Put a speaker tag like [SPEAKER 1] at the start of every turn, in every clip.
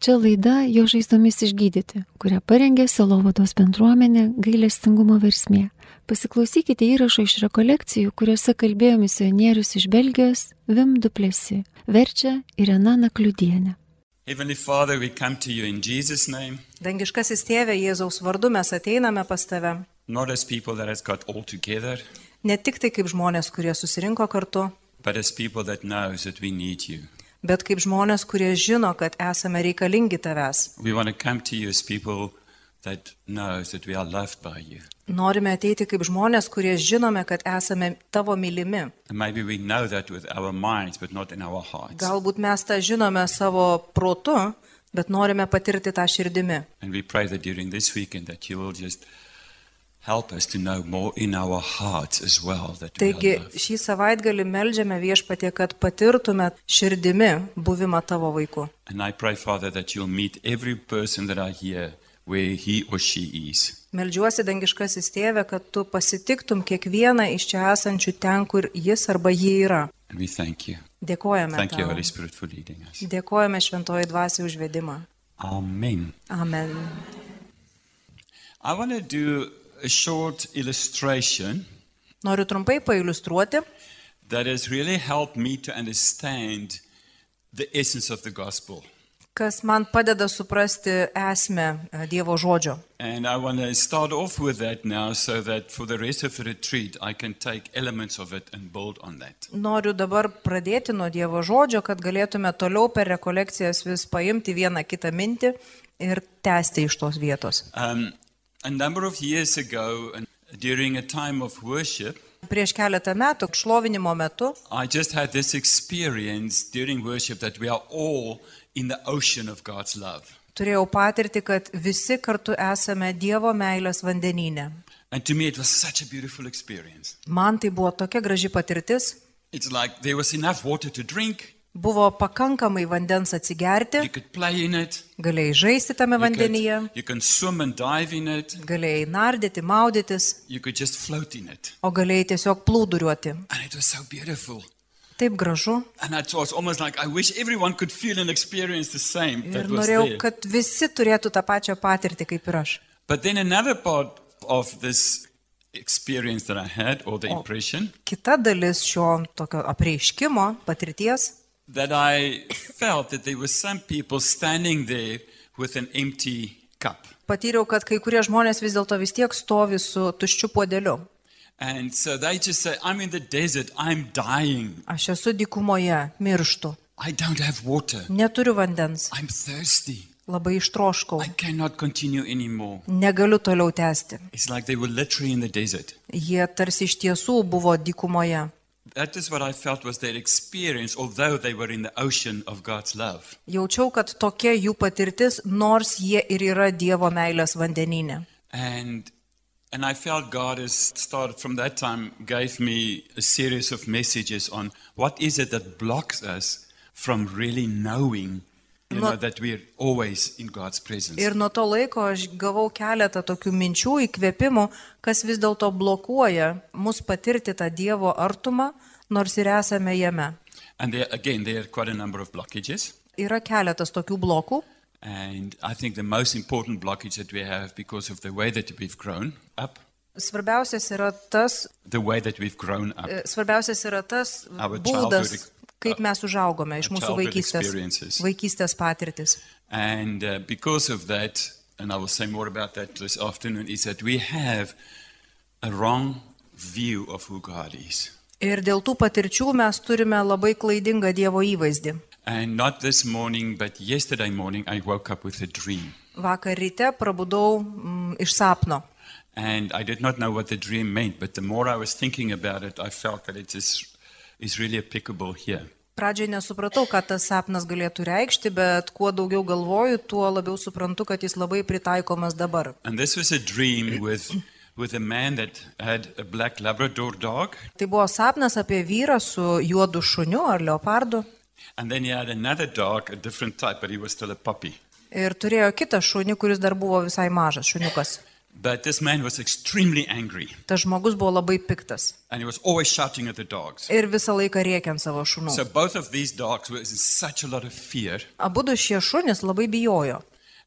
[SPEAKER 1] Čia laida Jo žaizdomis išgydyti, kurią parengė Selovados bendruomenė gailestingumo versmė. Pasiklausykite įrašo iš rekolekcijų, kuriuose kalbėjo misionierius iš Belgijos Vim Duplesi, verčia Irena Nakliudienė.
[SPEAKER 2] Heavenly Father, we come to you in Jesus' name,
[SPEAKER 3] Dangiškasis tėve Jėzaus vardu mes ateiname pas tave.
[SPEAKER 2] not as people that has got all together,
[SPEAKER 3] Ne tik tai kaip žmonės, kurie susirinko kartu,
[SPEAKER 2] but as people that knows that we need you.
[SPEAKER 3] bet kaip žmonės, kurie žino, kad esame reikalingi tavęs.
[SPEAKER 2] We want to come to you as people that knows that we are loved by you.
[SPEAKER 3] Norime ateiti kaip žmonės, kurie žinome, kad esame tavo mylimi.
[SPEAKER 2] And maybe we know that with our minds, but not in our hearts.
[SPEAKER 3] Galbūt mes tą žinome savo protu, bet norime patirti tą širdimi.
[SPEAKER 2] And we pray that during this weekend that you will just help us to know more in our hearts as well that we
[SPEAKER 3] Taigi
[SPEAKER 2] are loved.
[SPEAKER 3] šį savaitgalį melžiame viešpatie, kad patirtume širdimi buvimą tavo vaiku.
[SPEAKER 2] And I pray, Father, that you'll meet every person that are here where he or she is.
[SPEAKER 3] Meldžiuosi dangiškasis tėve, kad tu pasitiktum kiekvieną iš čia esančių ten, kur jis arba ji yra.
[SPEAKER 2] And we thank you.
[SPEAKER 3] Dėkojame.
[SPEAKER 2] Thank you,
[SPEAKER 3] tau.
[SPEAKER 2] Holy Spirit, for leading us.
[SPEAKER 3] Dėkojame šventoji dvasiai už vedimą.
[SPEAKER 2] Amen.
[SPEAKER 3] Amen.
[SPEAKER 2] I want to do a short illustration
[SPEAKER 3] Noriu trumpai pailiustruoti,
[SPEAKER 2] that has really helped me to understand the essence of the gospel.
[SPEAKER 3] kas man padeda suprasti esmę e, Dievo žodžio.
[SPEAKER 2] And I want to start off with that now so that for the rest of the retreat, I can take elements of it and build on that.
[SPEAKER 3] Noriu dabar pradėti nuo Dievo žodžio, kad galėtume toliau per rekolekcijas vis paimti vieną kitą mintį ir tęsti iš tos vietos.
[SPEAKER 2] Um, a number of years ago, and during a time of worship,
[SPEAKER 3] Prieš keletą metų, šlovinimo metu,
[SPEAKER 2] I just had this experience during worship that we are all in the ocean of God's love.
[SPEAKER 3] turėjau patirti, kad visi kartu esame Dievo meilės vandenyne.
[SPEAKER 2] And to me, it was such a beautiful experience.
[SPEAKER 3] Man tai buvo tokia graži patirtis,
[SPEAKER 2] It's like there was enough water to drink.
[SPEAKER 3] buvo pakankamai vandens atsigerti,
[SPEAKER 2] You could play in it.
[SPEAKER 3] galėjai žaisti tame
[SPEAKER 2] You, could,
[SPEAKER 3] vandenyje,
[SPEAKER 2] you can swim and dive in it.
[SPEAKER 3] galėjai nardyti, maudytis,
[SPEAKER 2] You could just float in it.
[SPEAKER 3] o galėjai tiesiog plūduriuoti.
[SPEAKER 2] And it was so beautiful.
[SPEAKER 3] Taip gražu.
[SPEAKER 2] And it was almost like I wish everyone could feel and experience the same
[SPEAKER 3] Ir
[SPEAKER 2] that was
[SPEAKER 3] norėjau,
[SPEAKER 2] there.
[SPEAKER 3] kad visi turėtų tą pačią patirtį kaip ir aš.
[SPEAKER 2] But then another part of this experience that I had, or the impression,
[SPEAKER 3] Kita dalis šio tokio apreiškimo, patirties,
[SPEAKER 2] that I felt that there were some people standing there with an empty cup.
[SPEAKER 3] patyriau, kad kai kurie žmonės vis dėlto vis tiek stovi su tuščiu puodeliu.
[SPEAKER 2] And so they just say, I'm in the desert, I'm dying,
[SPEAKER 3] Aš esu dykumoje, mirštu,
[SPEAKER 2] I don't have water.
[SPEAKER 3] neturiu vandens,
[SPEAKER 2] I'm thirsty.
[SPEAKER 3] labai ištroškau,
[SPEAKER 2] I cannot continue anymore.
[SPEAKER 3] negaliu toliau tęsti.
[SPEAKER 2] It's like they were literally in the desert.
[SPEAKER 3] Jie tarsi iš tiesų buvo dykumoje.
[SPEAKER 2] That is what I felt was their experience, although they were in the ocean of God's love.
[SPEAKER 3] Jaučiau, kad tokia jų patirtis, nors jie ir yra Dievo meilės vandeninė.
[SPEAKER 2] And and I felt God has started from that time gave me a series of messages on what is it that blocks us from really knowing you know,
[SPEAKER 3] Not-
[SPEAKER 2] that we're always in God's presence.
[SPEAKER 3] Ir nuo to laiko aš gavau keletą tokių minčių, įkvėpimų, kas vis dėlto blokuoja mus patirti tą Dievo artumą, nors ir esame jame.
[SPEAKER 2] And there, again, there are quite a number of blockages.
[SPEAKER 3] Yra keletas tokių blokų.
[SPEAKER 2] And I think the most important blockage that we have because of the way that we've grown up,
[SPEAKER 3] Svarbiausias yra tas,
[SPEAKER 2] the way that we've grown up,
[SPEAKER 3] e, svarbiausias yra tas
[SPEAKER 2] Our
[SPEAKER 3] būdas,
[SPEAKER 2] childhood-
[SPEAKER 3] kaip mes užaugome iš
[SPEAKER 2] our
[SPEAKER 3] mūsų
[SPEAKER 2] childhood
[SPEAKER 3] vaikystės,
[SPEAKER 2] experiences.
[SPEAKER 3] vaikystės patirtis.
[SPEAKER 2] and uh, because of that, and I will say more about that this afternoon, is that we have a wrong view of who God is,
[SPEAKER 3] Ir dėl tų patirčių mes turime labai klaidingą Dievo įvaizdį.
[SPEAKER 2] and not this morning, but yesterday morning, I woke up with a dream,
[SPEAKER 3] Vakar ryte prabudau mm, iš sapno.
[SPEAKER 2] and I did not know what the dream meant, but the more I was thinking about it, I felt that it is is really applicable here.
[SPEAKER 3] Pradžiai nesupratau, ką tas sapnas galėtų reikšti, bet kuo daugiau galvoju, tuo labiau suprantu, kad jis labai pritaikomas dabar.
[SPEAKER 2] And this was a dream with, with a man that had a black Labrador dog,
[SPEAKER 3] Tai buvo sapnas apie vyrą su juodu šuniu ar leopardu
[SPEAKER 2] and then he had another dog, a different type, but he was still a puppy.
[SPEAKER 3] ir turėjo kitą šunį, kuris dar buvo visai mažas šuniukas.
[SPEAKER 2] But this man was extremely angry
[SPEAKER 3] Tas žmogus buvo labai piktas
[SPEAKER 2] and he was always shouting at the dogs.
[SPEAKER 3] ir visą laiką rėkė ant savo šunų.
[SPEAKER 2] So both of these dogs were in such a lot of fear.
[SPEAKER 3] Abu du šie šunys labai bijojo.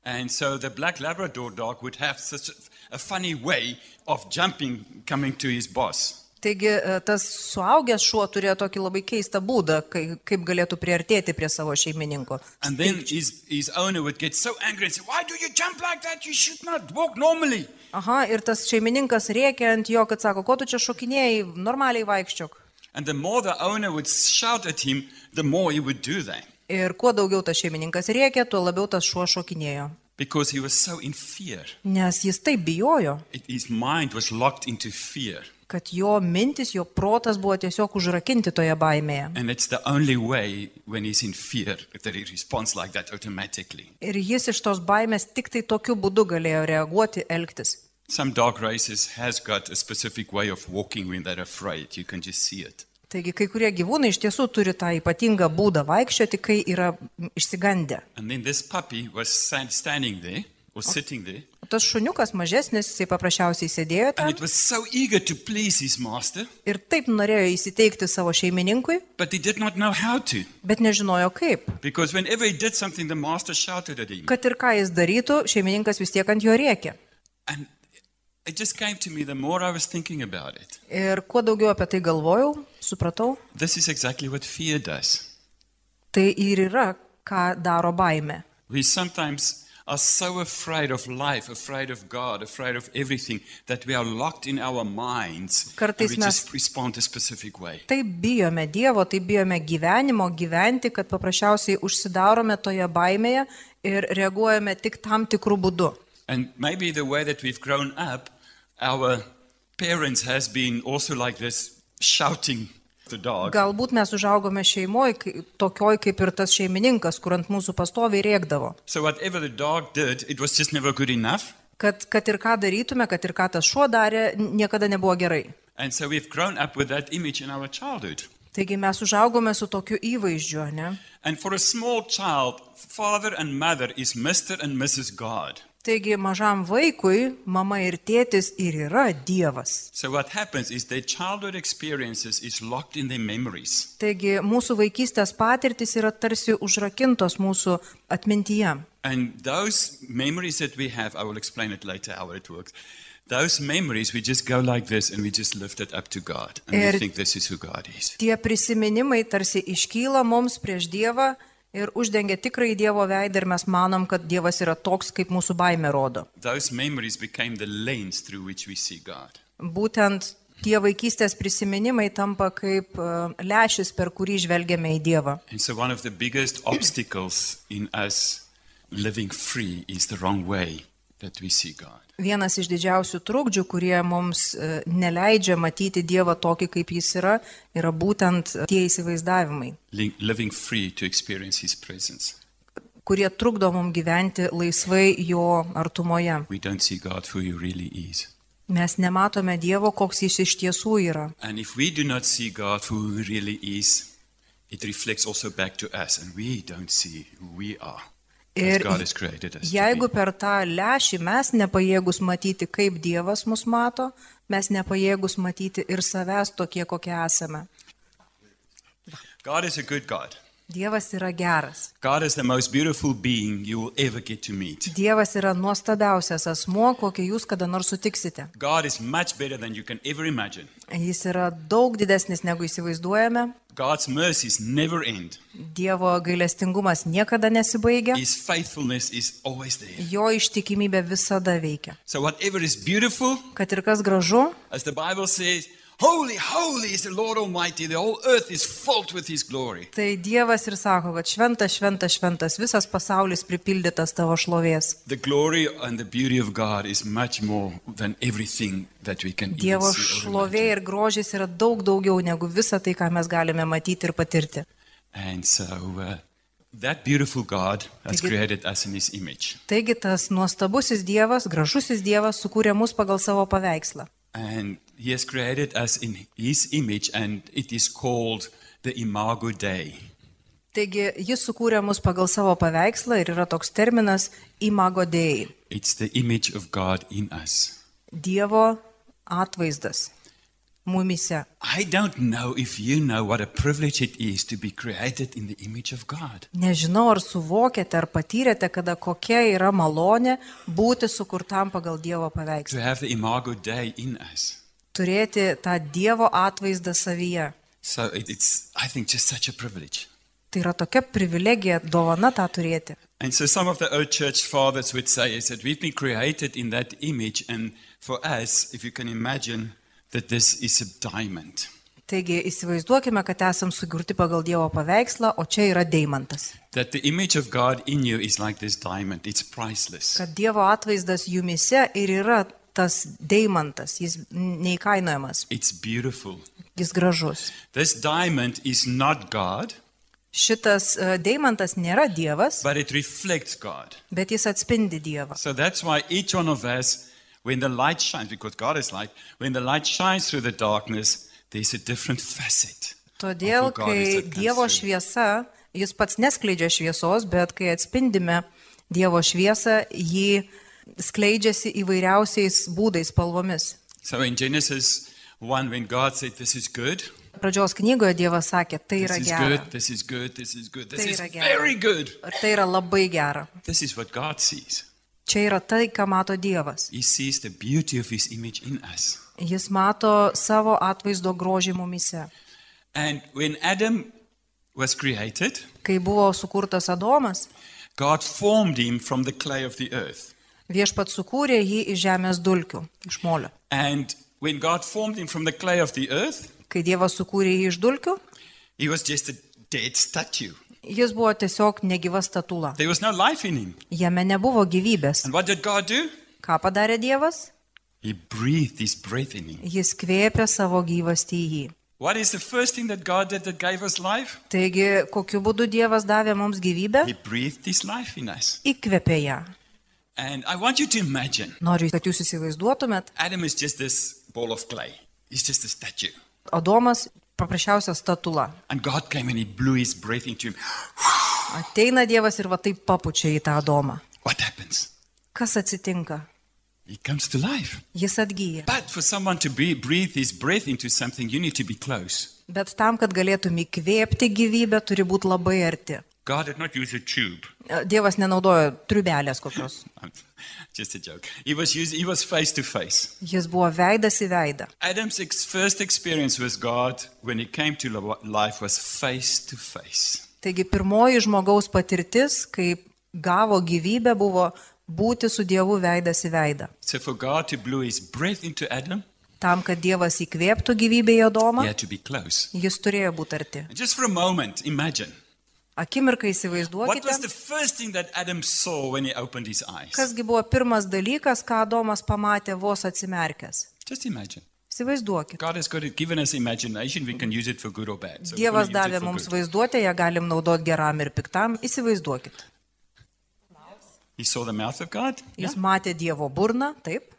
[SPEAKER 2] And so the black Labrador dog would have such a, a funny way of jumping, coming to his boss.
[SPEAKER 3] Taigi e, tas suaugęs šuo turėjo tokį labai keistą būdą, kai, kaip galėtų priartėti prie savo šeimininko.
[SPEAKER 2] And then his, his owner would get so angry and say, Why do you jump like that? You should not walk normally.
[SPEAKER 3] Aha, ir tas šeimininkas rėkė ant jo, kad sako, ko tu čia šokinėjai, normaliai vaikščiok.
[SPEAKER 2] And the more the owner would shout at him, the more he would do that
[SPEAKER 3] Ir kuo daugiau tas šeimininkas rėkė, tuo labiau tas šuo šokinėjo.
[SPEAKER 2] because he was so in fear.
[SPEAKER 3] Nes jis taip bijojo,
[SPEAKER 2] It, his mind was locked into fear.
[SPEAKER 3] kad jo mintis, jo protas buvo tiesiog užrakinti toje baimėje.
[SPEAKER 2] And it's the only way when he's in fear that he responds like that automatically.
[SPEAKER 3] Ir jis iš tos baimės tik tai tokiu būdu galėjo reaguoti, elgtis.
[SPEAKER 2] Some dog races has got a specific way of walking when they're afraid. You can just see it.
[SPEAKER 3] Taigi kai kurie gyvūnai iš tiesų turi tą ypatingą būdą vaikščioti, kai yra mm, išsigandę.
[SPEAKER 2] And then this puppy was stand, standing there or sitting there,
[SPEAKER 3] O Tas šuniukas mažesnis, jisai paprasčiausiai sėdėjo
[SPEAKER 2] and
[SPEAKER 3] ten
[SPEAKER 2] it was so eager to please his master,
[SPEAKER 3] ir taip norėjo įsiteikti savo šeimininkui,
[SPEAKER 2] but he did not know how to
[SPEAKER 3] bet nežinojo kaip.
[SPEAKER 2] because whenever he did something, the master shouted at him.
[SPEAKER 3] Kad ir ką jis darytų, šeimininkas vis tiek ant jo rėkė.
[SPEAKER 2] And it just came to me the more I was thinking about it.
[SPEAKER 3] Ir kuo daugiau apie tai galvojau, supratau,
[SPEAKER 2] This is exactly what fear does.
[SPEAKER 3] tai ir yra, ką daro baime.
[SPEAKER 2] We sometimes are so afraid of life, afraid of God, afraid of everything that we are locked in our minds and
[SPEAKER 3] Kartais
[SPEAKER 2] we
[SPEAKER 3] mes-
[SPEAKER 2] just respond a specific way.
[SPEAKER 3] Taip Tai bijome Dievo, taip bijome gyvenimo, gyventi, kad paprasčiausiai užsidarome toje baimėje ir reaguojame tik tam tikrų būdų.
[SPEAKER 2] And maybe the way that we've grown up, our parents has been also like this, shouting at the dog.
[SPEAKER 3] Galbūt mes užaugome šeimoje, kai- tokioj kaip ir tas šeimininkas, kur ant mūsų pastoviai rėkdavo.
[SPEAKER 2] So whatever the dog did, it was just never good enough.
[SPEAKER 3] Kad, kad ir ką darytume, kad ir ką tas šuo darė, n- niekada nebuvo gerai.
[SPEAKER 2] And so we've grown up with that image in our childhood.
[SPEAKER 3] Taigi mes užaugome su tokiu įvaizdžiu, ne?
[SPEAKER 2] And for a small child, father and mother is Mr. and Mrs. God.
[SPEAKER 3] Taigi mažam vaikui mama ir tėtis ir yra Dievas.
[SPEAKER 2] So what happens is their childhood experiences is locked in their memories.
[SPEAKER 3] Taigi mūsų vaikystės patirtis yra tarsi užrakintos mūsų atmintyje.
[SPEAKER 2] And those memories that we have, I will explain it later how it works. Those memories, we just go like this and we just lift it up to God. And we
[SPEAKER 3] Er-
[SPEAKER 2] think this is who God is.
[SPEAKER 3] Tie prisiminimai tarsi iškyla mums prieš Dievą ir uždengia tikrai Dievo veidą ir mes manom, kad Dievas yra toks, kaip mūsų baime rodo.
[SPEAKER 2] Those memories became the lens through which we see God.
[SPEAKER 3] Būtent tie vaikystės prisiminimai tampa kaip e, lešis, per kurį žvelgiame į Dievą.
[SPEAKER 2] And so one of the biggest obstacles in us living free is the wrong way that we see God.
[SPEAKER 3] Vienas iš didžiausių trukdžių, kurie mums e, neleidžia matyti Dievą tokį, kaip jis yra, yra būtent e, tie įsivaizdavimai,
[SPEAKER 2] li- living free to experience His presence.
[SPEAKER 3] kurie trukdo mums gyventi laisvai jo artumoje.
[SPEAKER 2] We don't see God for who He really is.
[SPEAKER 3] Mes nematome Dievo, koks jis iš tiesų yra.
[SPEAKER 2] And if we do not see God for who He really is, it reflects also back to us, and we don't see who we are as
[SPEAKER 3] Ir
[SPEAKER 2] God has created us. to
[SPEAKER 3] Jeigu
[SPEAKER 2] be.
[SPEAKER 3] per tą lešį mes nepajėgus matyti, kaip Dievas mus mato, mes nepajėgus matyti ir savęs tokie, kokie esame.
[SPEAKER 2] God is a good God.
[SPEAKER 3] Dievas yra geras.
[SPEAKER 2] God is the most beautiful being you will ever get to meet.
[SPEAKER 3] Dievas yra nuostabiausias asmuo, kokį jūs kada nors sutiksite.
[SPEAKER 2] God is much better than you can ever imagine.
[SPEAKER 3] Jis yra daug didesnis negu įsivaizduojame.
[SPEAKER 2] God's mercies never end.
[SPEAKER 3] Dievo gailestingumas niekada nesibaigia.
[SPEAKER 2] His faithfulness is always there.
[SPEAKER 3] Jo ištikimybė visada veikia.
[SPEAKER 2] So whatever is beautiful,
[SPEAKER 3] Kad ir kas gražu,
[SPEAKER 2] As the Bible says, Holy, holy is the Lord Almighty. The whole earth is filled with His glory.
[SPEAKER 3] tai Dievas ir sako, kad šventas, šventas, šventas, visas pasaulis pripildytas tavo šlovės.
[SPEAKER 2] The glory and the beauty of God is much more than everything that we can even
[SPEAKER 3] Dievo
[SPEAKER 2] see or
[SPEAKER 3] šlovė
[SPEAKER 2] imagine.
[SPEAKER 3] ir grožis yra daug daugiau negu visa tai, ką mes galime matyti ir patirti.
[SPEAKER 2] And so, uh, that beautiful God has
[SPEAKER 3] Thank you.
[SPEAKER 2] created us in His image.
[SPEAKER 3] Taigi tas nuostabusis Dievas, gražusis Dievas sukūrė mus pagal savo paveikslą.
[SPEAKER 2] And He has created us in His image, and it is called the Imago Dei.
[SPEAKER 3] Taigi jis sukūrė mus pagal savo paveikslą ir yra toks terminas imagodėjai.
[SPEAKER 2] It's the image of God in us.
[SPEAKER 3] Dievo atvaizdas mumise.
[SPEAKER 2] I don't know if you know what a privilege it is to be created in the image of God.
[SPEAKER 3] Nežinau, ar suvokėte, ar patyrėte, kada kokia yra malonė būti sukurtam pagal Dievo paveikslą.
[SPEAKER 2] To have the imago Dei in us.
[SPEAKER 3] Turėti tą Dievo atvaizdą savyje.
[SPEAKER 2] So it, it's, I think, just such a privilege.
[SPEAKER 3] Tai yra tokia privilegija, dovana tą turėti.
[SPEAKER 2] And so some of the old church fathers would say is that we've been created in that image, and for us, if you can imagine, that this is a diamond.
[SPEAKER 3] Taigi įsivaizduokime, kad esam sugurti pagal Dievo paveikslą, o čia yra deimantas.
[SPEAKER 2] That the image of God in you is like this diamond, it's priceless.
[SPEAKER 3] Kad Dievo atvaizdas jumise ir yra tas deimantas, jis neįkainojamas,
[SPEAKER 2] It's beautiful.
[SPEAKER 3] jis gražus.
[SPEAKER 2] This diamond is not God,
[SPEAKER 3] Šitas e, deimantas nėra Dievas,
[SPEAKER 2] but it reflects God.
[SPEAKER 3] bet jis atspindi Dievą.
[SPEAKER 2] So that's why each one of us, when the light shines, because God is light, when the light shines through the darkness, there's a different facet.
[SPEAKER 3] Todėl,
[SPEAKER 2] Of who God is
[SPEAKER 3] kai
[SPEAKER 2] that comes
[SPEAKER 3] Dievo
[SPEAKER 2] through.
[SPEAKER 3] šviesa, jis pats neskleidžia šviesos, bet kai atspindime Dievo šviesą, ji skleidžiasi įvairiausiais būdais, spalvomis.
[SPEAKER 2] So in Genesis 1, when God said, This is good,
[SPEAKER 3] Pradžios knygoje Dievas sakė, tai
[SPEAKER 2] this
[SPEAKER 3] yra
[SPEAKER 2] is
[SPEAKER 3] gera.
[SPEAKER 2] good, this is good, this is good, this
[SPEAKER 3] Ty
[SPEAKER 2] is
[SPEAKER 3] yra gera.
[SPEAKER 2] very good.
[SPEAKER 3] Ir tai yra labai gera.
[SPEAKER 2] This is what God sees.
[SPEAKER 3] Čia yra tai, ką mato Dievas.
[SPEAKER 2] He sees the beauty of His image in us.
[SPEAKER 3] Jis mato savo atvaizdo grožį mumise.
[SPEAKER 2] And when Adam was created,
[SPEAKER 3] Kai buvo sukurtas Adomas,
[SPEAKER 2] God formed him from the clay of the earth.
[SPEAKER 3] viešpat sukūrė jį iš žemės dulkių, iš molio.
[SPEAKER 2] And when God formed him from the clay of the earth,
[SPEAKER 3] Kai Dievas sukūrė jį iš dulkių,
[SPEAKER 2] he was just a dead statue.
[SPEAKER 3] jis buvo tiesiog negyva statula.
[SPEAKER 2] There was no life in him.
[SPEAKER 3] Jame nebuvo gyvybės.
[SPEAKER 2] And what did God do?
[SPEAKER 3] Ką padarė Dievas?
[SPEAKER 2] He breathed his breath in him.
[SPEAKER 3] Jis kvėpė savo gyvastį į jį.
[SPEAKER 2] What is the first thing that God did that gave us life?
[SPEAKER 3] Taigi, kokiu būdu Dievas davė mums gyvybę?
[SPEAKER 2] He breathed his life in us.
[SPEAKER 3] Įkvėpė ją.
[SPEAKER 2] And I want you to imagine
[SPEAKER 3] Noriu, kad jūs įsivaizduotumėt,
[SPEAKER 2] Adam is just this ball of clay, he's just a statue.
[SPEAKER 3] Adomas paprasčiausia statula.
[SPEAKER 2] And God came and he blew his breath into him.
[SPEAKER 3] Ateina Dievas ir va taip papučia į tą Adomą.
[SPEAKER 2] What happens?
[SPEAKER 3] Kas atsitinka?
[SPEAKER 2] He comes to life.
[SPEAKER 3] Jis atgyja.
[SPEAKER 2] But for someone to be, breathe his breath into something, you need to be close.
[SPEAKER 3] Bet tam, kad galėtum įkvėpti gyvybę, turi būti labai arti.
[SPEAKER 2] God did not use a tube.
[SPEAKER 3] E, Dievas nenaudojo triubelės kokios.
[SPEAKER 2] Just a joke. He was, using, he was face to face.
[SPEAKER 3] Jis buvo veidas į veidą.
[SPEAKER 2] Adam's ex- first experience with God when he came to lo- life was face to face.
[SPEAKER 3] Taigi pirmoji žmogaus patirtis, kai gavo gyvybę, buvo būti su Dievu veidas į veidą.
[SPEAKER 2] So for God to blow his breath into Adam,
[SPEAKER 3] Tam, kad Dievas įkvėptų gyvybę į Adomą,
[SPEAKER 2] he had to be close.
[SPEAKER 3] jis turėjo būti arti.
[SPEAKER 2] And just for a moment, imagine what
[SPEAKER 3] Akimirkai
[SPEAKER 2] was the
[SPEAKER 3] įsivaizduokite,
[SPEAKER 2] first thing that Adam saw when he opened his eyes?
[SPEAKER 3] kasgi buvo pirmas dalykas, ką Adomas pamatė vos atsimerkęs.
[SPEAKER 2] Just imagine.
[SPEAKER 3] Įsivaizduokite.
[SPEAKER 2] God has got it, given us imagination. We can use it for good or bad. So we're gonna
[SPEAKER 3] Dievas
[SPEAKER 2] use it
[SPEAKER 3] davė
[SPEAKER 2] for
[SPEAKER 3] mums
[SPEAKER 2] good.
[SPEAKER 3] vaizduotę, ją galim naudoti geram ir piktam. Įsivaizduokit.
[SPEAKER 2] He saw the mouth of God.
[SPEAKER 3] Jis matė Dievo burną, taip,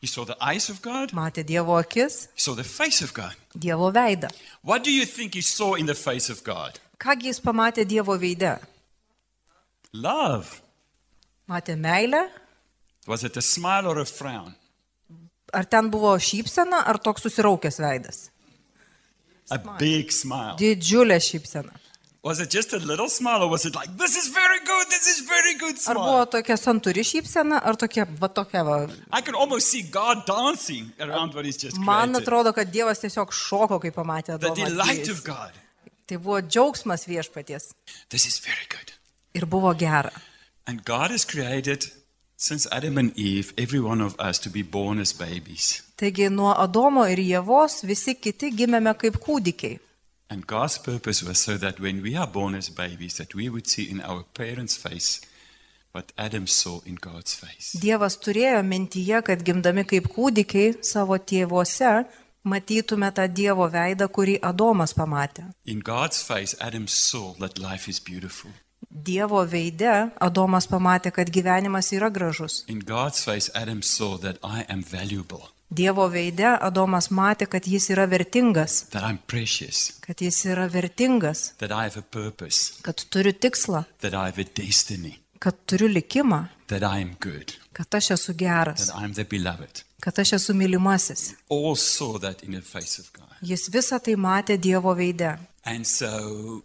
[SPEAKER 2] He saw the eyes of God.
[SPEAKER 3] matė Dievo akis,
[SPEAKER 2] He saw the face of God.
[SPEAKER 3] Dievo veidą.
[SPEAKER 2] What do you think he saw in the face of God?
[SPEAKER 3] Kągi jis pamatė Dievo veide?
[SPEAKER 2] Love.
[SPEAKER 3] Matė meilę,
[SPEAKER 2] Was it a smile or a frown?
[SPEAKER 3] Ar ten buvo šypsena, ar toks susiraukęs veidas?
[SPEAKER 2] A big smile.
[SPEAKER 3] Didžiulė šypsena.
[SPEAKER 2] Was it just a little smile or was it like, this is very good, this is very good
[SPEAKER 3] Ar buvo
[SPEAKER 2] smile?
[SPEAKER 3] tokia santuri šypsena, ar tokia, va tokia, va.
[SPEAKER 2] I can almost see God dancing around what he's just
[SPEAKER 3] Man
[SPEAKER 2] created.
[SPEAKER 3] atrodo, kad Dievas tiesiog šoko, kai pamatė
[SPEAKER 2] The delight
[SPEAKER 3] Adomą.
[SPEAKER 2] of God.
[SPEAKER 3] Tai buvo džiaugsmas viešpaties.
[SPEAKER 2] This is very good.
[SPEAKER 3] Ir buvo gera.
[SPEAKER 2] And God has created, since Adam and Eve, every one of us to be born as babies.
[SPEAKER 3] Taigi nuo Adomo ir Jėvos visi kiti gimėme kaip kūdikiai.
[SPEAKER 2] And God's purpose was so that when we are born as babies, that we would see in our parents' face what Adam saw in God's face.
[SPEAKER 3] Dievas turėjo mintyje, kad gimdami kaip kūdikiai savo tėvuose matytume tą Dievo veidą, kurį Adomas pamatė.
[SPEAKER 2] In God's face, Adam saw that life is beautiful.
[SPEAKER 3] Dievo veide Adomas pamatė, kad gyvenimas yra gražus.
[SPEAKER 2] In God's face, Adam saw that I am valuable,
[SPEAKER 3] Dievo veide Adomas matė, kad jis yra vertingas,
[SPEAKER 2] that I'm precious,
[SPEAKER 3] kad jis yra vertingas,
[SPEAKER 2] that I have a purpose,
[SPEAKER 3] kad turi tikslą,
[SPEAKER 2] that I have a destiny.
[SPEAKER 3] kad turiu likimą,
[SPEAKER 2] that I am good,
[SPEAKER 3] kad aš esu geras,
[SPEAKER 2] that I am the beloved.
[SPEAKER 3] kad aš esu mylimasis.
[SPEAKER 2] All saw that in the face of God.
[SPEAKER 3] Jis visą tai matė Dievo veide.
[SPEAKER 2] And so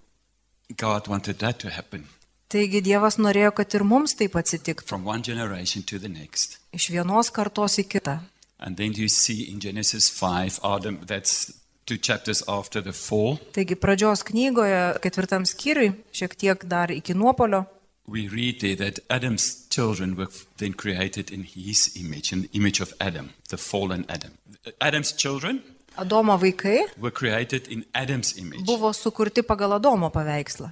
[SPEAKER 2] God wanted that to happen
[SPEAKER 3] Taigi Dievas norėjo, kad ir mums taip atsitiktų.
[SPEAKER 2] from one generation to the next.
[SPEAKER 3] Iš vienos kartos į kitą.
[SPEAKER 2] And then you see in Genesis 5, Adam, that's two chapters after the fall,
[SPEAKER 3] Taigi pradžios knygoje, ketvirtam skyriui, šiek tiek dar iki nuopolio,
[SPEAKER 2] we read there that Adam's children were then created in his image, in the image of Adam, the fallen Adam. Adam's children
[SPEAKER 3] Adomo vaikai
[SPEAKER 2] were created in Adam's image.
[SPEAKER 3] buvo sukurti pagal Adomo paveikslą.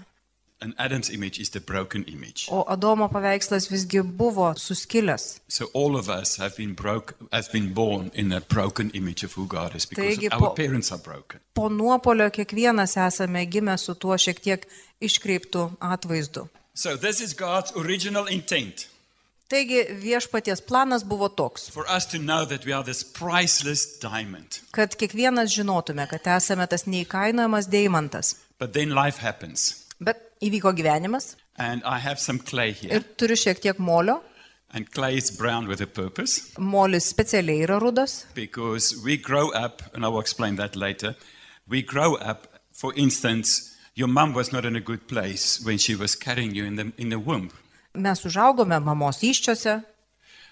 [SPEAKER 2] And Adam's image is the broken image.
[SPEAKER 3] O Adomo paveikslas visgi buvo suskilęs.
[SPEAKER 2] So all of us have been broke, have been born in that broken image of who God is because
[SPEAKER 3] Taigi
[SPEAKER 2] our
[SPEAKER 3] po-
[SPEAKER 2] parents are broken.
[SPEAKER 3] Po nuopolio kiekvienas esame gimę su tuo šiek tiek iškreiptų atvaizdu.
[SPEAKER 2] So this is God's original intent
[SPEAKER 3] Taigi viešpaties planas buvo toks,
[SPEAKER 2] for us to know that we are this priceless diamond.
[SPEAKER 3] kad kiekvienas žinotume, kad esame tas neįkainojamas deimantas.
[SPEAKER 2] But then life happens.
[SPEAKER 3] Bet įvyko gyvenimas
[SPEAKER 2] And I have some clay here.
[SPEAKER 3] ir turiu šiek tiek molio.
[SPEAKER 2] And clay is brown with a purpose
[SPEAKER 3] Molis specialiai yra rudas,
[SPEAKER 2] because we grow up, and I will explain that later. We grow up, for instance, your mum was not in a good place when she was carrying you in the, in the womb.
[SPEAKER 3] mes užaugome mamos iščiose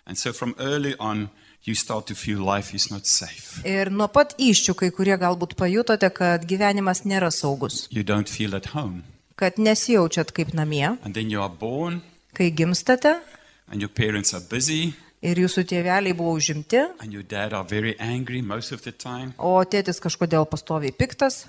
[SPEAKER 2] And so from early on, you start to feel life is not safe.
[SPEAKER 3] ir nuo pat iščių kai kurie galbūt pajutote, kad gyvenimas nėra saugus,
[SPEAKER 2] You don't feel at home.
[SPEAKER 3] kad nesijaučiat kaip namie,
[SPEAKER 2] And then you are born,
[SPEAKER 3] kai gimstate
[SPEAKER 2] and your parents are busy,
[SPEAKER 3] ir jūsų tėveliai buvo užimti,
[SPEAKER 2] and your dad are very angry most of the time.
[SPEAKER 3] o tėtis kažkodėl pastoviai piktas,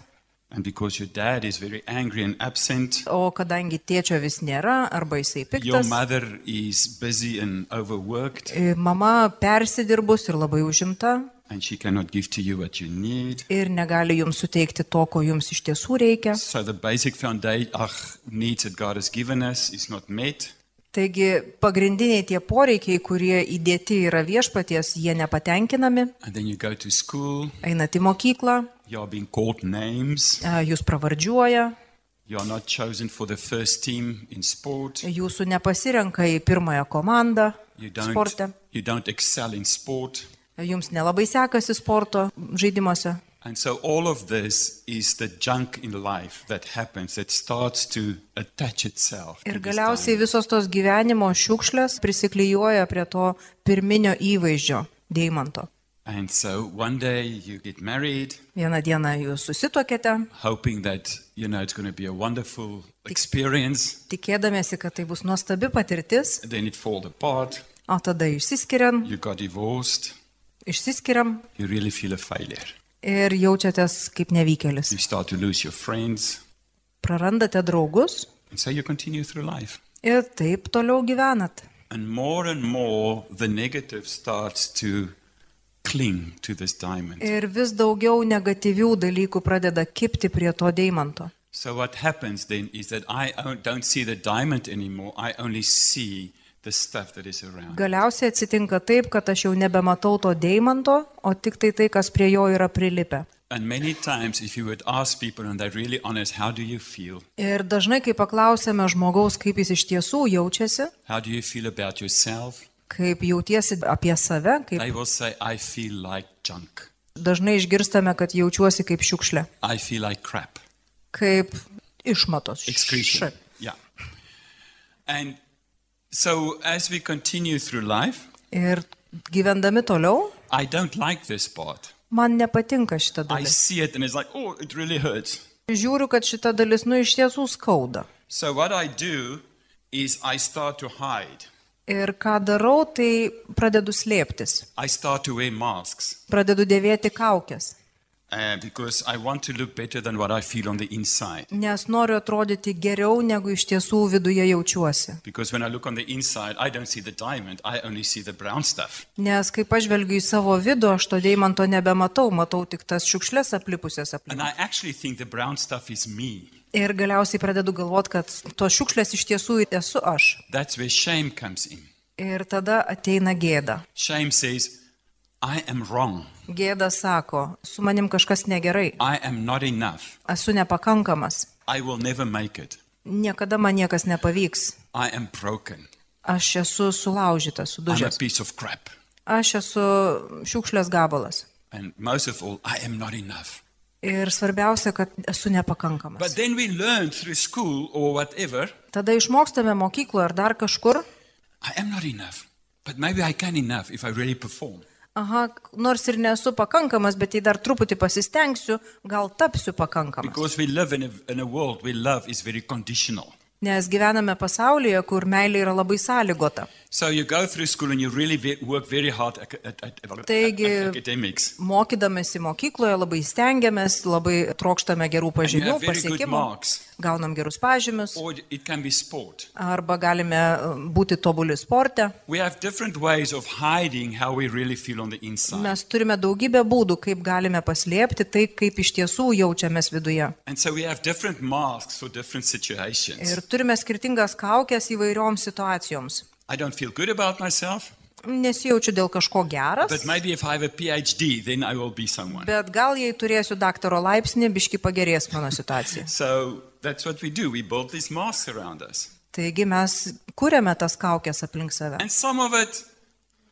[SPEAKER 2] And because your dad is very angry and absent,
[SPEAKER 3] o kadangi tėčio vis nėra arba jisai
[SPEAKER 2] Your
[SPEAKER 3] piktas,
[SPEAKER 2] mother is busy and overworked,
[SPEAKER 3] i, mama persidirbus ir labai užimta
[SPEAKER 2] and she cannot give to you what you need.
[SPEAKER 3] ir negali jums suteikti to, ko jums iš tiesų reikia.
[SPEAKER 2] So the basic foundation ach, needs that God has given us is not met.
[SPEAKER 3] Taigi pagrindiniai tie poreikiai, kurie įdėti yra viešpaties, jie nepatenkinami.
[SPEAKER 2] And then you go to school,
[SPEAKER 3] Einat į mokyklą,
[SPEAKER 2] you are being called names,
[SPEAKER 3] e, jūs pravardžiuoja,
[SPEAKER 2] you are not chosen for the first team in sport,
[SPEAKER 3] jūsų nepasirenka į pirmąją komandą
[SPEAKER 2] you don't,
[SPEAKER 3] sporte,
[SPEAKER 2] you don't excel in sport.
[SPEAKER 3] jums nelabai sekasi sporto žaidimuose.
[SPEAKER 2] And so all of this is the junk in life that happens that starts to attach itself. to
[SPEAKER 3] Ir
[SPEAKER 2] this
[SPEAKER 3] galiausiai
[SPEAKER 2] diamond.
[SPEAKER 3] visos tos gyvenimo šiukšlės prisiklyjuoja prie to pirminio įvaizdžio deimanto.
[SPEAKER 2] And so one day you get married.
[SPEAKER 3] Vieną dieną jūs susitokėte,
[SPEAKER 2] hoping that you know it's going to be a wonderful experience.
[SPEAKER 3] tikėdamėsi, kad tai bus nuostabi patirtis,
[SPEAKER 2] Then it fall apart.
[SPEAKER 3] o tada išsiskiriam,
[SPEAKER 2] You got divorced.
[SPEAKER 3] išsiskiriam
[SPEAKER 2] You really feel a failure.
[SPEAKER 3] ir jaučiatės kaip nevykėlis.
[SPEAKER 2] You start to lose your friends,
[SPEAKER 3] Prarandate draugus
[SPEAKER 2] and so you continue through life.
[SPEAKER 3] ir taip toliau gyvenat.
[SPEAKER 2] And more and more, the negative starts to cling to this diamond.
[SPEAKER 3] Ir vis daugiau negatyvių dalykų pradeda kipti prie to deimanto.
[SPEAKER 2] So what happens then is that I on- don't see the diamond anymore. I only see the stuff that is around.
[SPEAKER 3] Galiausiai atsitinka taip, kad aš jau nebematau to deimanto, o tik tai tai, kas prie jo yra prilipę.
[SPEAKER 2] And many times, if you would ask people and they're really honest, how do you feel?
[SPEAKER 3] Ir dažnai, kai paklausėme žmogaus, kaip jis iš tiesų jaučiasi,
[SPEAKER 2] How do you feel about yourself?
[SPEAKER 3] kaip jautiesi apie save, kaip
[SPEAKER 2] They will say, I feel like junk.
[SPEAKER 3] dažnai išgirstame, kad jaučiuosi kaip šiukšlė,
[SPEAKER 2] I feel like crap.
[SPEAKER 3] kaip išmatos.
[SPEAKER 2] Excretion.
[SPEAKER 3] Š-
[SPEAKER 2] Yeah. And so as we continue through life,
[SPEAKER 3] Ir gyvendami toliau,
[SPEAKER 2] I don't like this part.
[SPEAKER 3] man nepatinka šita
[SPEAKER 2] I
[SPEAKER 3] dalis.
[SPEAKER 2] see it and it's like, oh, it really hurts.
[SPEAKER 3] Žiūriu, kad šita dalis, nu, iš tiesų skauda.
[SPEAKER 2] So what I do is I start to hide.
[SPEAKER 3] Ir ką darau, tai pradedu slėptis,
[SPEAKER 2] I start to wear masks
[SPEAKER 3] pradedu dėvėti kaukės,
[SPEAKER 2] uh, because I want to look better than what I feel on the inside.
[SPEAKER 3] nes noriu atrodyti geriau, negu iš tiesų viduje jaučiuosi.
[SPEAKER 2] Because when I look on the inside, I don't see the diamond, I only see the brown stuff.
[SPEAKER 3] Nes kai pažvelgiu į savo vidų, aš to deimanto nebematau, matau tik tas šiukšlės aplipusias
[SPEAKER 2] And
[SPEAKER 3] aplink.
[SPEAKER 2] I actually think the brown stuff is me.
[SPEAKER 3] Ir galiausiai pradedu galvoti, kad tos šiukšlės iš tiesų ir esu aš.
[SPEAKER 2] That's where shame comes in.
[SPEAKER 3] Ir tada ateina gėda.
[SPEAKER 2] Shame says, I am wrong.
[SPEAKER 3] Gėda sako, su manim kažkas negerai,
[SPEAKER 2] I am not enough.
[SPEAKER 3] esu nepakankamas,
[SPEAKER 2] I will never make it.
[SPEAKER 3] niekada man niekas nepavyks.
[SPEAKER 2] I am broken.
[SPEAKER 3] Aš esu sulaužytas,
[SPEAKER 2] I'm a
[SPEAKER 3] sudužęs.
[SPEAKER 2] piece of crap.
[SPEAKER 3] Aš esu šiukšlės gabalas.
[SPEAKER 2] And most of all, I am not enough.
[SPEAKER 3] Ir svarbiausia, kad esu
[SPEAKER 2] But
[SPEAKER 3] nepakankamas.
[SPEAKER 2] then we learn through school or whatever,
[SPEAKER 3] Tada išmokstame mokykloje ar dar kažkur.
[SPEAKER 2] I am not enough. But maybe I can enough if I really perform.
[SPEAKER 3] Aha, nors ir nesu pakankamas, bet jei dar truputį pasistengsiu, gal tapsiu pakankamas.
[SPEAKER 2] Because we live in a, in a world where love is very conditional.
[SPEAKER 3] Nes gyvename pasaulyje, kur meilė yra labai sąlygota.
[SPEAKER 2] So you go through school and you really ve- work very hard ac- at, at, at,
[SPEAKER 3] Take,
[SPEAKER 2] at
[SPEAKER 3] uh,
[SPEAKER 2] academics.
[SPEAKER 3] Mokydamėsi mokykloje labai stengiamės, labai trokštame gerų
[SPEAKER 2] And you
[SPEAKER 3] pažymių,
[SPEAKER 2] have very good
[SPEAKER 3] pasiekimų,
[SPEAKER 2] marks.
[SPEAKER 3] gaunam gerus pažymius,
[SPEAKER 2] Or it can be sport.
[SPEAKER 3] arba galime e, būti tobuli sporte.
[SPEAKER 2] We have different ways of hiding how we really feel on the inside.
[SPEAKER 3] Mes turime daugybę būdų, kaip galime paslėpti tai, kaip iš tiesų jaučiamės viduje.
[SPEAKER 2] And so we have different masks for different situations.
[SPEAKER 3] Ir turime skirtingas kaukės įvairioms situacijoms.
[SPEAKER 2] I don't feel good about myself,
[SPEAKER 3] Nesijaučiu dėl kažko geras,
[SPEAKER 2] but maybe if I have a PhD, then I will be someone.
[SPEAKER 3] bet gal jei turėsiu daktaro laipsnį, biški pagerės mano situacija.
[SPEAKER 2] So that's what we do. We build these masks around us.
[SPEAKER 3] Taigi mes kūrėme tas kaukės aplink save.
[SPEAKER 2] And some of it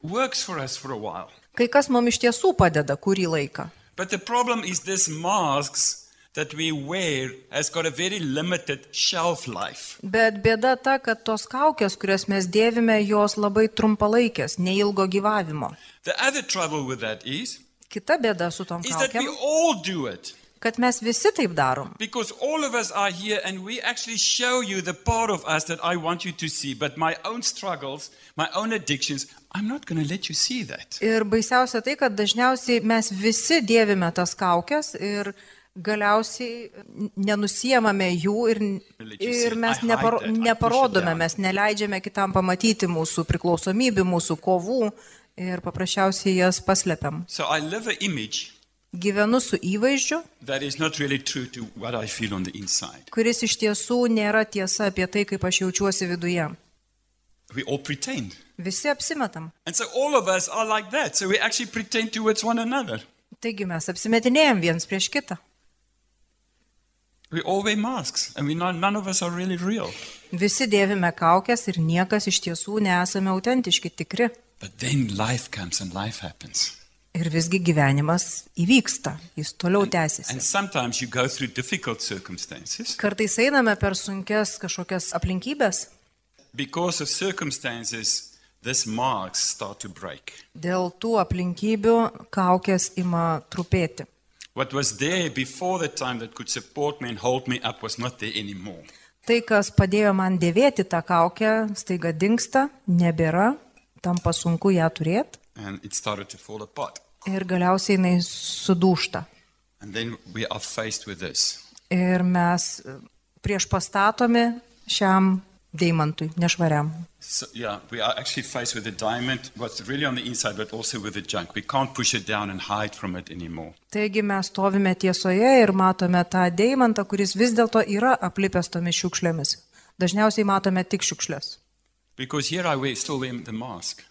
[SPEAKER 2] works for us for a while.
[SPEAKER 3] Kai kas mums iš tiesų padeda kurį laiką.
[SPEAKER 2] But the problem is this masks that we wear has got a very limited shelf life.
[SPEAKER 3] Bet bėda ta, kad tos kaukės, kurias mes dėvime, jos labai trumpalaikės, neilgo gyvavimo.
[SPEAKER 2] The other trouble with that is
[SPEAKER 3] Kita bėda su tom
[SPEAKER 2] is that we
[SPEAKER 3] kaukėm,
[SPEAKER 2] all do it.
[SPEAKER 3] kad mes visi taip darom.
[SPEAKER 2] Because all of us are here and we actually show you the part of us that I want you to see. But my own struggles, my own addictions, I'm not going to let you see that.
[SPEAKER 3] Ir baisiausia tai, kad dažniausiai mes visi dėvime tas kaukės ir galiausiai nenusiemame jų ir, ir mes neparo, neparodome, mes neleidžiame kitam pamatyti mūsų priklausomybių, mūsų kovų ir paprasčiausiai jas paslepiam.
[SPEAKER 2] So I live an image
[SPEAKER 3] Gyvenu su įvaizdžiu,
[SPEAKER 2] that is not really true to what I feel on the inside.
[SPEAKER 3] kuris iš tiesų nėra tiesa apie tai, kaip aš jaučiuosi viduje.
[SPEAKER 2] We all pretend.
[SPEAKER 3] Visi apsimetam.
[SPEAKER 2] And so all of us are like that. So we actually pretend towards one another.
[SPEAKER 3] Taigi mes apsimetinėjom viens prieš kitą.
[SPEAKER 2] We all wear masks and we not, none of us are really real.
[SPEAKER 3] Visi dėvime kaukės ir niekas iš tiesų nesame autentiški, tikri.
[SPEAKER 2] But then life comes and life happens.
[SPEAKER 3] Ir visgi gyvenimas įvyksta, jis toliau
[SPEAKER 2] And
[SPEAKER 3] tęsiasi.
[SPEAKER 2] sometimes you go through difficult circumstances.
[SPEAKER 3] Kartais einame per sunkes kažkokias aplinkybės,
[SPEAKER 2] Because of circumstances, this marks start to break.
[SPEAKER 3] dėl tų aplinkybių kaukės ima trupėti.
[SPEAKER 2] What was there before the time that could support me and hold me up was not there anymore.
[SPEAKER 3] Tai, kas padėjo man dėvėti tą kaukę, staiga dinksta, nebėra, tampa sunku ją turėti
[SPEAKER 2] And it started to fall apart.
[SPEAKER 3] ir galiausiai jinai sudūšta.
[SPEAKER 2] And then we are faced with this.
[SPEAKER 3] Ir mes e, prieš pastatomi šiam deimantui, nešvariam.
[SPEAKER 2] So, yeah, we are actually faced with a diamond, what's really on the inside, but also with the junk. We can't push it down and hide from it anymore.
[SPEAKER 3] Taigi mes stovime tiesoje ir matome tą deimantą, kuris vis dėlto yra aplipęs tomis šiukšlėmis. Dažniausiai matome tik šiukšlės.
[SPEAKER 2] Because here I wear, still wear the mask.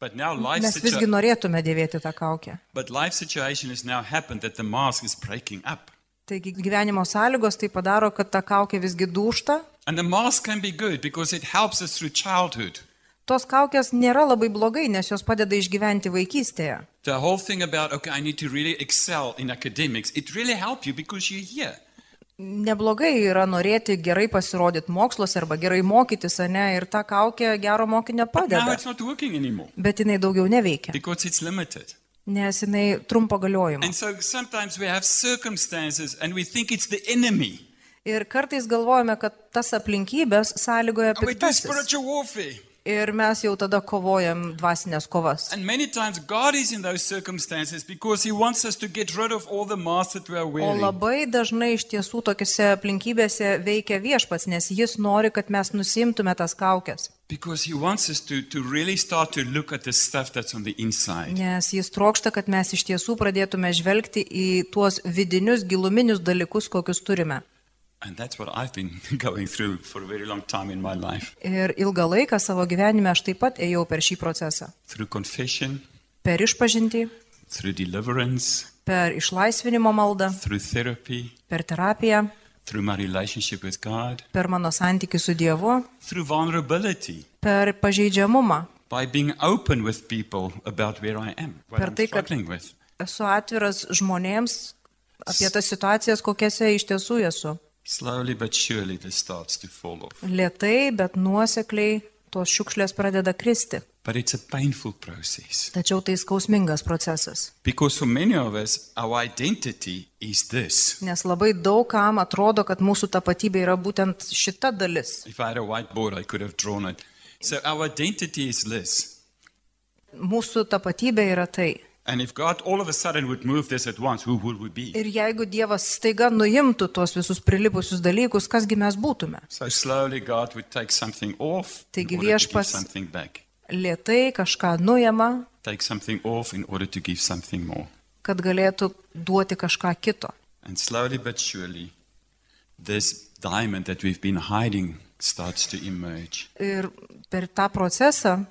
[SPEAKER 2] But now life
[SPEAKER 3] Mes visgi
[SPEAKER 2] situa-
[SPEAKER 3] norėtume dėvėti tą kaukę.
[SPEAKER 2] but life situation has now happened that the mask is breaking up.
[SPEAKER 3] Taigi gyvenimo sąlygos tai padaro, kad ta kaukė visgi dūšta.
[SPEAKER 2] And the mask can be good because it helps us through childhood.
[SPEAKER 3] Tos kaukės nėra labai blogai, nes jos padeda išgyventi vaikystėje.
[SPEAKER 2] The whole thing about, okay, I need to really excel in academics, it really helped you because you're here.
[SPEAKER 3] Neblogai yra norėti gerai pasirodyti moksluose arba gerai mokytis, ar ne, ir ta kaukė gero mokinio
[SPEAKER 2] Now
[SPEAKER 3] padeda.
[SPEAKER 2] it's not working anymore
[SPEAKER 3] Bet jinai daugiau neveikia,
[SPEAKER 2] because it's limited.
[SPEAKER 3] nes jinai trumpo galiojimo.
[SPEAKER 2] And so sometimes we have circumstances and we think it's the enemy.
[SPEAKER 3] Ir kartais galvojame, kad tas aplinkybės sąlygoja
[SPEAKER 2] And we do
[SPEAKER 3] piktasis.
[SPEAKER 2] spiritual warfare.
[SPEAKER 3] Ir mes jau tada kovojam dvasinės kovas.
[SPEAKER 2] And many times God is in those circumstances because He wants us to get rid of all the masks that we are
[SPEAKER 3] O
[SPEAKER 2] wearing.
[SPEAKER 3] labai dažnai iš tiesų tokiuose aplinkybėse veikia viešpats, nes jis nori, kad mes nusimtume tas kaukės.
[SPEAKER 2] Because He wants us to, to really start to look at the stuff that's on the inside.
[SPEAKER 3] Nes jis trokšta, kad mes iš tiesų pradėtume žvelgti į tuos vidinius, giluminius dalykus, kokius turime.
[SPEAKER 2] And that's what I've been going through for a very long time in my life
[SPEAKER 3] Ir ilgą laiką savo gyvenime aš taip pat ėjau per šį procesą.
[SPEAKER 2] through confession,
[SPEAKER 3] Per išpažinti,
[SPEAKER 2] through deliverance,
[SPEAKER 3] per išlaisvinimo maldą,
[SPEAKER 2] through therapy,
[SPEAKER 3] per terapiją,
[SPEAKER 2] through my relationship with God,
[SPEAKER 3] per mano santykių su Dievu,
[SPEAKER 2] through vulnerability,
[SPEAKER 3] per pažeidžiamumą.
[SPEAKER 2] by being open with people about where I am, what
[SPEAKER 3] Per
[SPEAKER 2] I'm
[SPEAKER 3] tai, kad-
[SPEAKER 2] struggling with.
[SPEAKER 3] Esu atviras žmonėms apie tas situacijas, kokiuose iš tiesų esu.
[SPEAKER 2] Slowly but surely, this starts to fall off.
[SPEAKER 3] Lietai, bet nuosekliai tos šiukšlės pradeda kristi.
[SPEAKER 2] But it's a painful process
[SPEAKER 3] Tačiau tai skausmingas procesas,
[SPEAKER 2] because for many of us, our identity is this.
[SPEAKER 3] nes labai daug kam atrodo, kad mūsų tapatybė yra būtent šita dalis.
[SPEAKER 2] If I had a whiteboard, I could have drawn it. So our identity is this.
[SPEAKER 3] Mūsų tapatybė yra tai.
[SPEAKER 2] And if God all of a sudden would move this at once, who would we be?
[SPEAKER 3] Ir jeigu Dievas staiga nuimtų tuos visus prilipusius dalykus, kasgi mes būtume?
[SPEAKER 2] So slowly, God would take something off in order to
[SPEAKER 3] Taigi
[SPEAKER 2] give
[SPEAKER 3] viešpats-
[SPEAKER 2] something back.
[SPEAKER 3] Lietai kažką nuima,
[SPEAKER 2] Take something off in order to give something more.
[SPEAKER 3] kad galėtų duoti kažką kito.
[SPEAKER 2] And slowly but surely, this diamond that we've been hiding starts to emerge.
[SPEAKER 3] Ir per tą procesą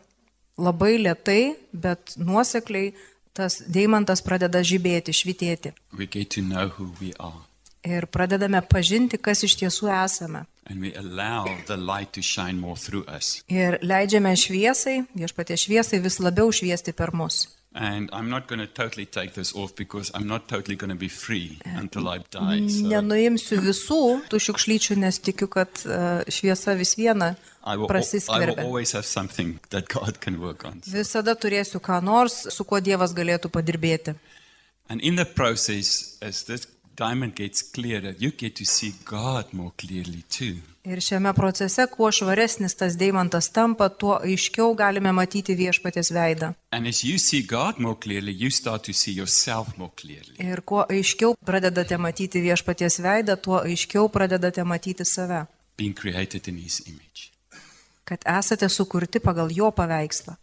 [SPEAKER 3] labai lietai, bet nuosekliai tas deimantas pradeda žibėti, švitėti.
[SPEAKER 2] We get to know who we are
[SPEAKER 3] Ir pradedame pažinti, kas iš tiesų esame.
[SPEAKER 2] and we allow the light to shine more through us.
[SPEAKER 3] Ir leidžiame šviesai, viešpatie šviesai vis labiau šviesti per mus.
[SPEAKER 2] And I'm not going to totally take this off because I'm not totally going to be free until I die. So
[SPEAKER 3] Nenuimsiu visų tų šiukšlyčių, nes tikiu, kad e, šviesa vis viena
[SPEAKER 2] I will, al- I will
[SPEAKER 3] prasiskverbia.
[SPEAKER 2] always have something that God can work on.
[SPEAKER 3] Visada turėsiu ką nors, su kuo Dievas galėtų padirbėti.
[SPEAKER 2] And in the process, as this diamond gets clearer, you get to see God more clearly too.
[SPEAKER 3] Ir šiame procese, kuo švaresnis tas deimantas tampa, tuo aiškiau galime matyti viešpatės veidą.
[SPEAKER 2] And as you see God more clearly, you start to see yourself more clearly.
[SPEAKER 3] Ir kuo aiškiau pradedate matyti viešpaties veidą, tuo aiškiau pradedate matyti save,
[SPEAKER 2] being created in his image.
[SPEAKER 3] kad esate sukurti pagal jo paveikslą.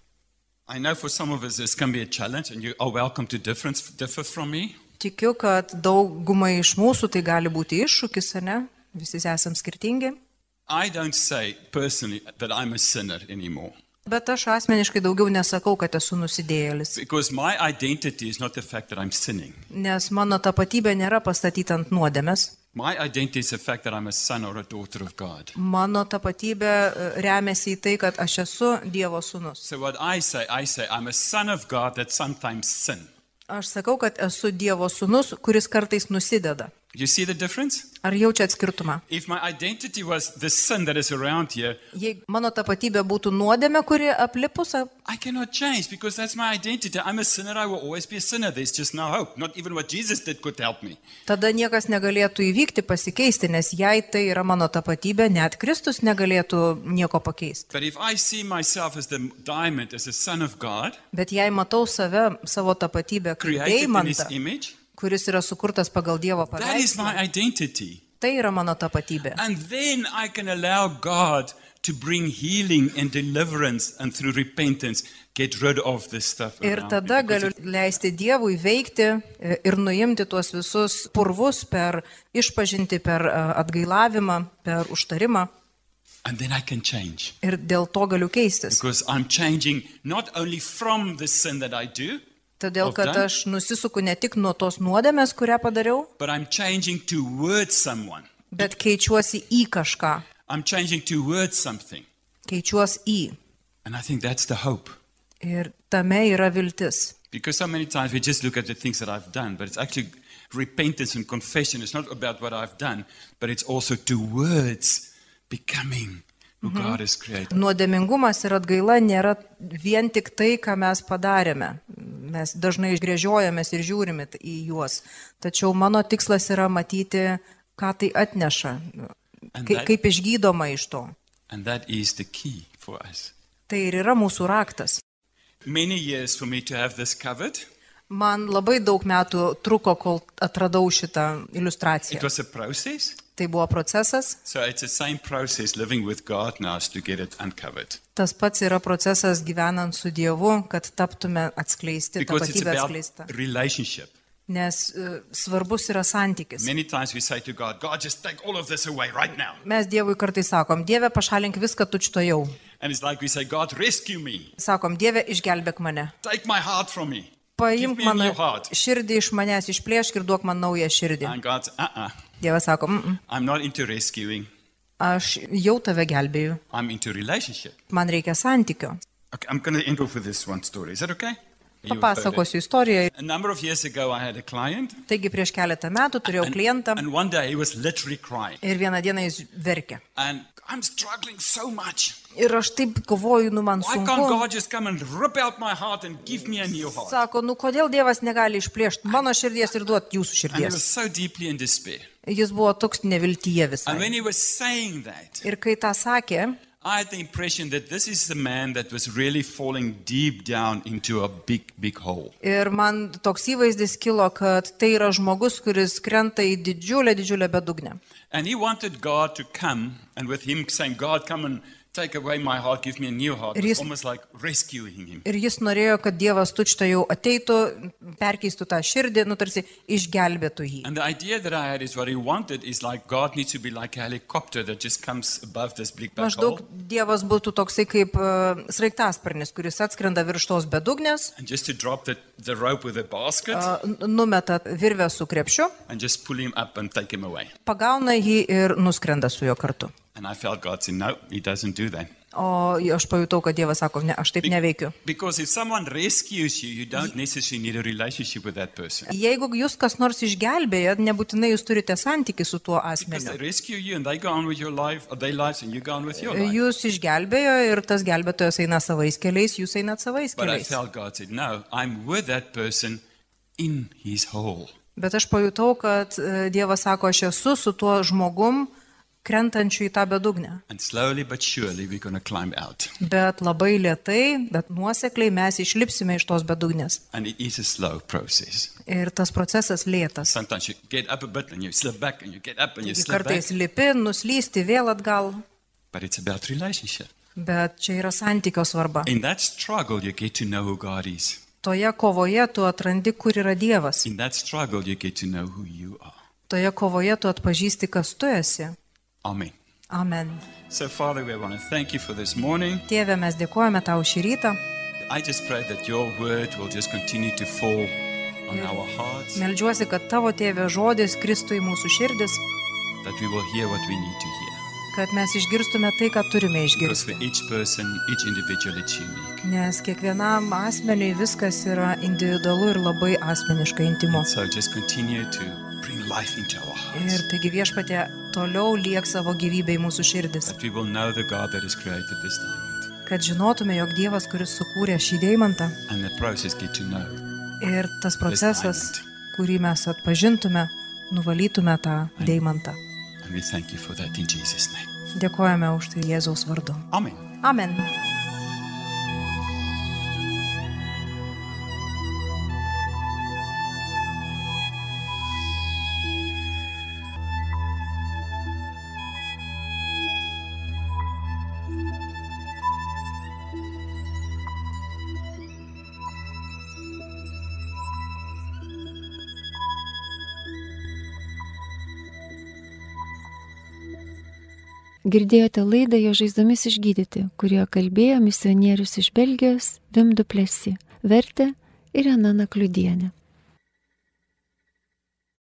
[SPEAKER 2] I know for some of us this can be a challenge, and you are welcome to difference, differ from me.
[SPEAKER 3] Tikiu, kad daugumai iš mūsų tai gali būti iššūkis, ar ne? Visi esam skirtingi.
[SPEAKER 2] I don't say personally that I'm a sinner anymore
[SPEAKER 3] Bet aš asmeniškai daugiau nesakau, kad esu nusidėjėlis,
[SPEAKER 2] because my identity is not the fact that I'm sinning.
[SPEAKER 3] nes mano tapatybė nėra pastatyta ant nuodėmės.
[SPEAKER 2] My identity is the fact that I'm a son or a daughter of God.
[SPEAKER 3] Mano tapatybė e, remiasi į tai, kad aš esu Dievo sūnus.
[SPEAKER 2] So, what I say, I say I'm a son of God that sometimes sin.
[SPEAKER 3] Aš sakau, kad esu Dievo sūnus, kuris kartais nusideda.
[SPEAKER 2] You see the difference?
[SPEAKER 3] Ar jaučiat skirtumą?
[SPEAKER 2] If my identity was the sin that is around here,
[SPEAKER 3] Jei mano tapatybė būtų nuodėmė, kuri aplipus, ap-
[SPEAKER 2] I cannot change because that's my identity. I'm a sinner. I will always be a sinner. There's just no hope. Not even what Jesus did could help me.
[SPEAKER 3] tada niekas negalėtų įvykti, pasikeisti, nes jei tai yra mano tapatybė, net Kristus negalėtų nieko pakeisti.
[SPEAKER 2] But if I see myself as the diamond, as a son of God,
[SPEAKER 3] Bet jei matau save, savo tapatybę, kaip
[SPEAKER 2] created in his
[SPEAKER 3] deimantą,
[SPEAKER 2] image,
[SPEAKER 3] kuris yra sukurtas pagal Dievo
[SPEAKER 2] that is my
[SPEAKER 3] paveikslą,
[SPEAKER 2] identity.
[SPEAKER 3] tai yra mano tapatybė.
[SPEAKER 2] And then I can allow God to bring healing and deliverance and through repentance get rid of this stuff.
[SPEAKER 3] Ir
[SPEAKER 2] around me
[SPEAKER 3] tada
[SPEAKER 2] because
[SPEAKER 3] galiu
[SPEAKER 2] it-
[SPEAKER 3] leisti Dievui veikti e, ir nuimti tuos visus purvus per išpažinti, per e, atgailavimą, per užtarimą.
[SPEAKER 2] And then I can change
[SPEAKER 3] Ir dėl to galiu keistis.
[SPEAKER 2] because I'm changing not only from the sin that I do,
[SPEAKER 3] Todėl, kad
[SPEAKER 2] Of done.
[SPEAKER 3] aš nusisuku ne tik nuo tos nuodėmės, kurią padariau,
[SPEAKER 2] but I'm changing towards someone.
[SPEAKER 3] bet keičiuosi į kažką.
[SPEAKER 2] I'm changing towards something.
[SPEAKER 3] Keičiuosi į.
[SPEAKER 2] And I think that's the hope.
[SPEAKER 3] Ir tame yra viltis.
[SPEAKER 2] Because so many times we just look at the things that I've done, but it's actually repentance and confession. It's not about what I've done, but it's also towards becoming who God has created.
[SPEAKER 3] Nuodėmingumas ir atgaila nėra vien tik tai, ką mes padarėme. Mes dažnai išgrėžiojamės ir žiūrime t- į juos. Tačiau mano tikslas yra matyti, ką tai atneša,
[SPEAKER 2] And
[SPEAKER 3] kai-
[SPEAKER 2] that-
[SPEAKER 3] kaip išgydoma iš to.
[SPEAKER 2] And that is the key for us.
[SPEAKER 3] Tai ir yra mūsų raktas.
[SPEAKER 2] Many years for me to have this covered.
[SPEAKER 3] Man labai daug metų truko, kol atradau šitą
[SPEAKER 2] It
[SPEAKER 3] iliustraciją.
[SPEAKER 2] was a process.
[SPEAKER 3] Tai buvo procesas.
[SPEAKER 2] So it's the same process living with God now is to get it uncovered.
[SPEAKER 3] Tas pats yra procesas gyvenant su Dievu, kad taptume atskleisti,
[SPEAKER 2] Because it's
[SPEAKER 3] tapatybę
[SPEAKER 2] about
[SPEAKER 3] atskleista.
[SPEAKER 2] relationship.
[SPEAKER 3] Nes e, svarbus yra santykis.
[SPEAKER 2] Many times we say to God, God, just take all of this away right now.
[SPEAKER 3] Mes Dievui kartais sakom, Dieve pašalink viską tučto jau.
[SPEAKER 2] And it's like we say, God, rescue me.
[SPEAKER 3] Sakom, Dieve išgelbėk mane,
[SPEAKER 2] Take my heart from me. Give
[SPEAKER 3] paimk
[SPEAKER 2] me a
[SPEAKER 3] mano
[SPEAKER 2] new heart.
[SPEAKER 3] širdį iš manęs, išplėšk ir duok man naują širdį.
[SPEAKER 2] And God's, uh uh-uh, uh,
[SPEAKER 3] Dievas sako, "Mm, mm,
[SPEAKER 2] i am not into rescuing,
[SPEAKER 3] aš jau tave gelbėjau,
[SPEAKER 2] I'm into relationship.
[SPEAKER 3] man reikia santykio.
[SPEAKER 2] Okay, I'm going to end off with this one story. Is that okay? Are you afraid?
[SPEAKER 3] Papasakosiu istoriją.
[SPEAKER 2] A number of years ago, I had a client.
[SPEAKER 3] Taigi prieš keletą metų turėjau klientą
[SPEAKER 2] And one day he was literally crying.
[SPEAKER 3] ir vieną dieną jis verkė.
[SPEAKER 2] And I'm struggling so much.
[SPEAKER 3] Ir aš taip kovoju, nu man
[SPEAKER 2] Why can't
[SPEAKER 3] sunku.
[SPEAKER 2] God just come and rip out my heart and give me a new heart?
[SPEAKER 3] Sako, nu kodėl Dievas negali išplėšti mano širdies ir duoti jūsų
[SPEAKER 2] And he was
[SPEAKER 3] širdies.
[SPEAKER 2] so deeply in despair.
[SPEAKER 3] Jis buvo toks neviltyje
[SPEAKER 2] And
[SPEAKER 3] visai.
[SPEAKER 2] when he was saying that,
[SPEAKER 3] Ir kai tą sakė,
[SPEAKER 2] I had the impression that this is the man that was really falling deep down into a big, big hole.
[SPEAKER 3] ir man toks įvaizdis kilo, kad tai yra žmogus, kuris krenta į didžiulę, didžiulę bedugnę.
[SPEAKER 2] And he wanted God to come, and with him saying, God, come and take away my heart, give me a new heart.
[SPEAKER 3] It
[SPEAKER 2] It's
[SPEAKER 3] is-
[SPEAKER 2] almost like rescuing him.
[SPEAKER 3] Ir jis norėjo, kad Dievas tučta jau ateitų, perkeistų tą širdį, nu tarsi išgelbėtų jį.
[SPEAKER 2] And the idea that I had is what he wanted is like God needs to be like a helicopter that just comes above this big black
[SPEAKER 3] Maždaug
[SPEAKER 2] hole
[SPEAKER 3] Dievas būtų toksai kaip e, sraigtasparnis, kuris atskrenda virš tos bedugnės,
[SPEAKER 2] and just to drop the, the rope with a basket
[SPEAKER 3] e, n- numeta virvę su krepšiu,
[SPEAKER 2] and just pull him up and take him away.
[SPEAKER 3] pagauna jį ir nuskrenda su juo kartu.
[SPEAKER 2] And I felt God said, no, he doesn't do that.
[SPEAKER 3] O aš pajutau, kad Dievas sako, ne, aš taip neveikiu.
[SPEAKER 2] Because if someone rescues you, you don't necessarily need a relationship with that person.
[SPEAKER 3] Jeigu jūs kas nors išgelbėjat, nebūtinai jūs turite santyki su tuo
[SPEAKER 2] Because they
[SPEAKER 3] asmeniu.
[SPEAKER 2] rescue you and they go on with your life, or their lives, and you go on with your life.
[SPEAKER 3] Jūs išgelbėjo ir tas gelbėtojas eina savais keliais, jūs einat savais
[SPEAKER 2] But I
[SPEAKER 3] keliais.
[SPEAKER 2] felt God said, no, I'm with that person in his hole.
[SPEAKER 3] Bet aš pajutau, kad e, Dievas sako, aš esu su tuo žmogum krentančiu į tą bedugnę.
[SPEAKER 2] And slowly but surely, we're going to climb out.
[SPEAKER 3] Bet labai lietai, bet nuosekliai mes išlipsime iš tos bedugnės.
[SPEAKER 2] And it is a slow process.
[SPEAKER 3] Ir tas procesas lėtas.
[SPEAKER 2] Sometimes you get up a bit and you slip back and you get up and you
[SPEAKER 3] Taigi
[SPEAKER 2] slip back.
[SPEAKER 3] Kartais lipi, nuslysti vėl atgal,
[SPEAKER 2] But it's about relationship.
[SPEAKER 3] bet čia yra santykio svarba.
[SPEAKER 2] In that struggle, you get to know who God is.
[SPEAKER 3] Toje kovoje tu atrandi, kur yra Dievas.
[SPEAKER 2] In that struggle, you get to know who you are.
[SPEAKER 3] Toje kovoje tu atpažįsti, kas tu esi.
[SPEAKER 2] Amen.
[SPEAKER 3] Amen.
[SPEAKER 2] So, Father, we want to thank you for this morning.
[SPEAKER 3] Tėve, mes dėkojame tau šį rytą.
[SPEAKER 2] I just pray that your word will just continue to fall on our hearts,
[SPEAKER 3] Meldžiuosi, kad tavo tėvė žodis kristų į mūsų širdis,
[SPEAKER 2] that we will hear what we need to hear.
[SPEAKER 3] kad mes išgirstume tai, ką turime
[SPEAKER 2] Because for
[SPEAKER 3] išgirsti.
[SPEAKER 2] each person, each individual, it's unique.
[SPEAKER 3] Nes kiekvienam asmeniui viskas yra individualu ir labai asmeniškai intimo.
[SPEAKER 2] And so just continue to bring life into our
[SPEAKER 3] Ir
[SPEAKER 2] hearts,
[SPEAKER 3] taigi viešpatė toliau liek savo gyvybę į mūsų širdis,
[SPEAKER 2] that we will know the God that has created this diamond
[SPEAKER 3] kad žinotume, jog Dievas, kuris sukūrė šį deimantą
[SPEAKER 2] and the process get to know
[SPEAKER 3] ir tas procesas, kurį mes atpažintume, nuvalytume tą deimantą.
[SPEAKER 2] And we thank you for that in Jesus' name.
[SPEAKER 3] Dėkojame už tai Jėzaus vardu.
[SPEAKER 2] Amen.
[SPEAKER 3] Amen.
[SPEAKER 1] Girdėjote laidą Jo žaizdomis išgydyti, kurioje kalbėjo misionierius iš Belgijos Vimduplesi, vertė Irena Nakliudienė.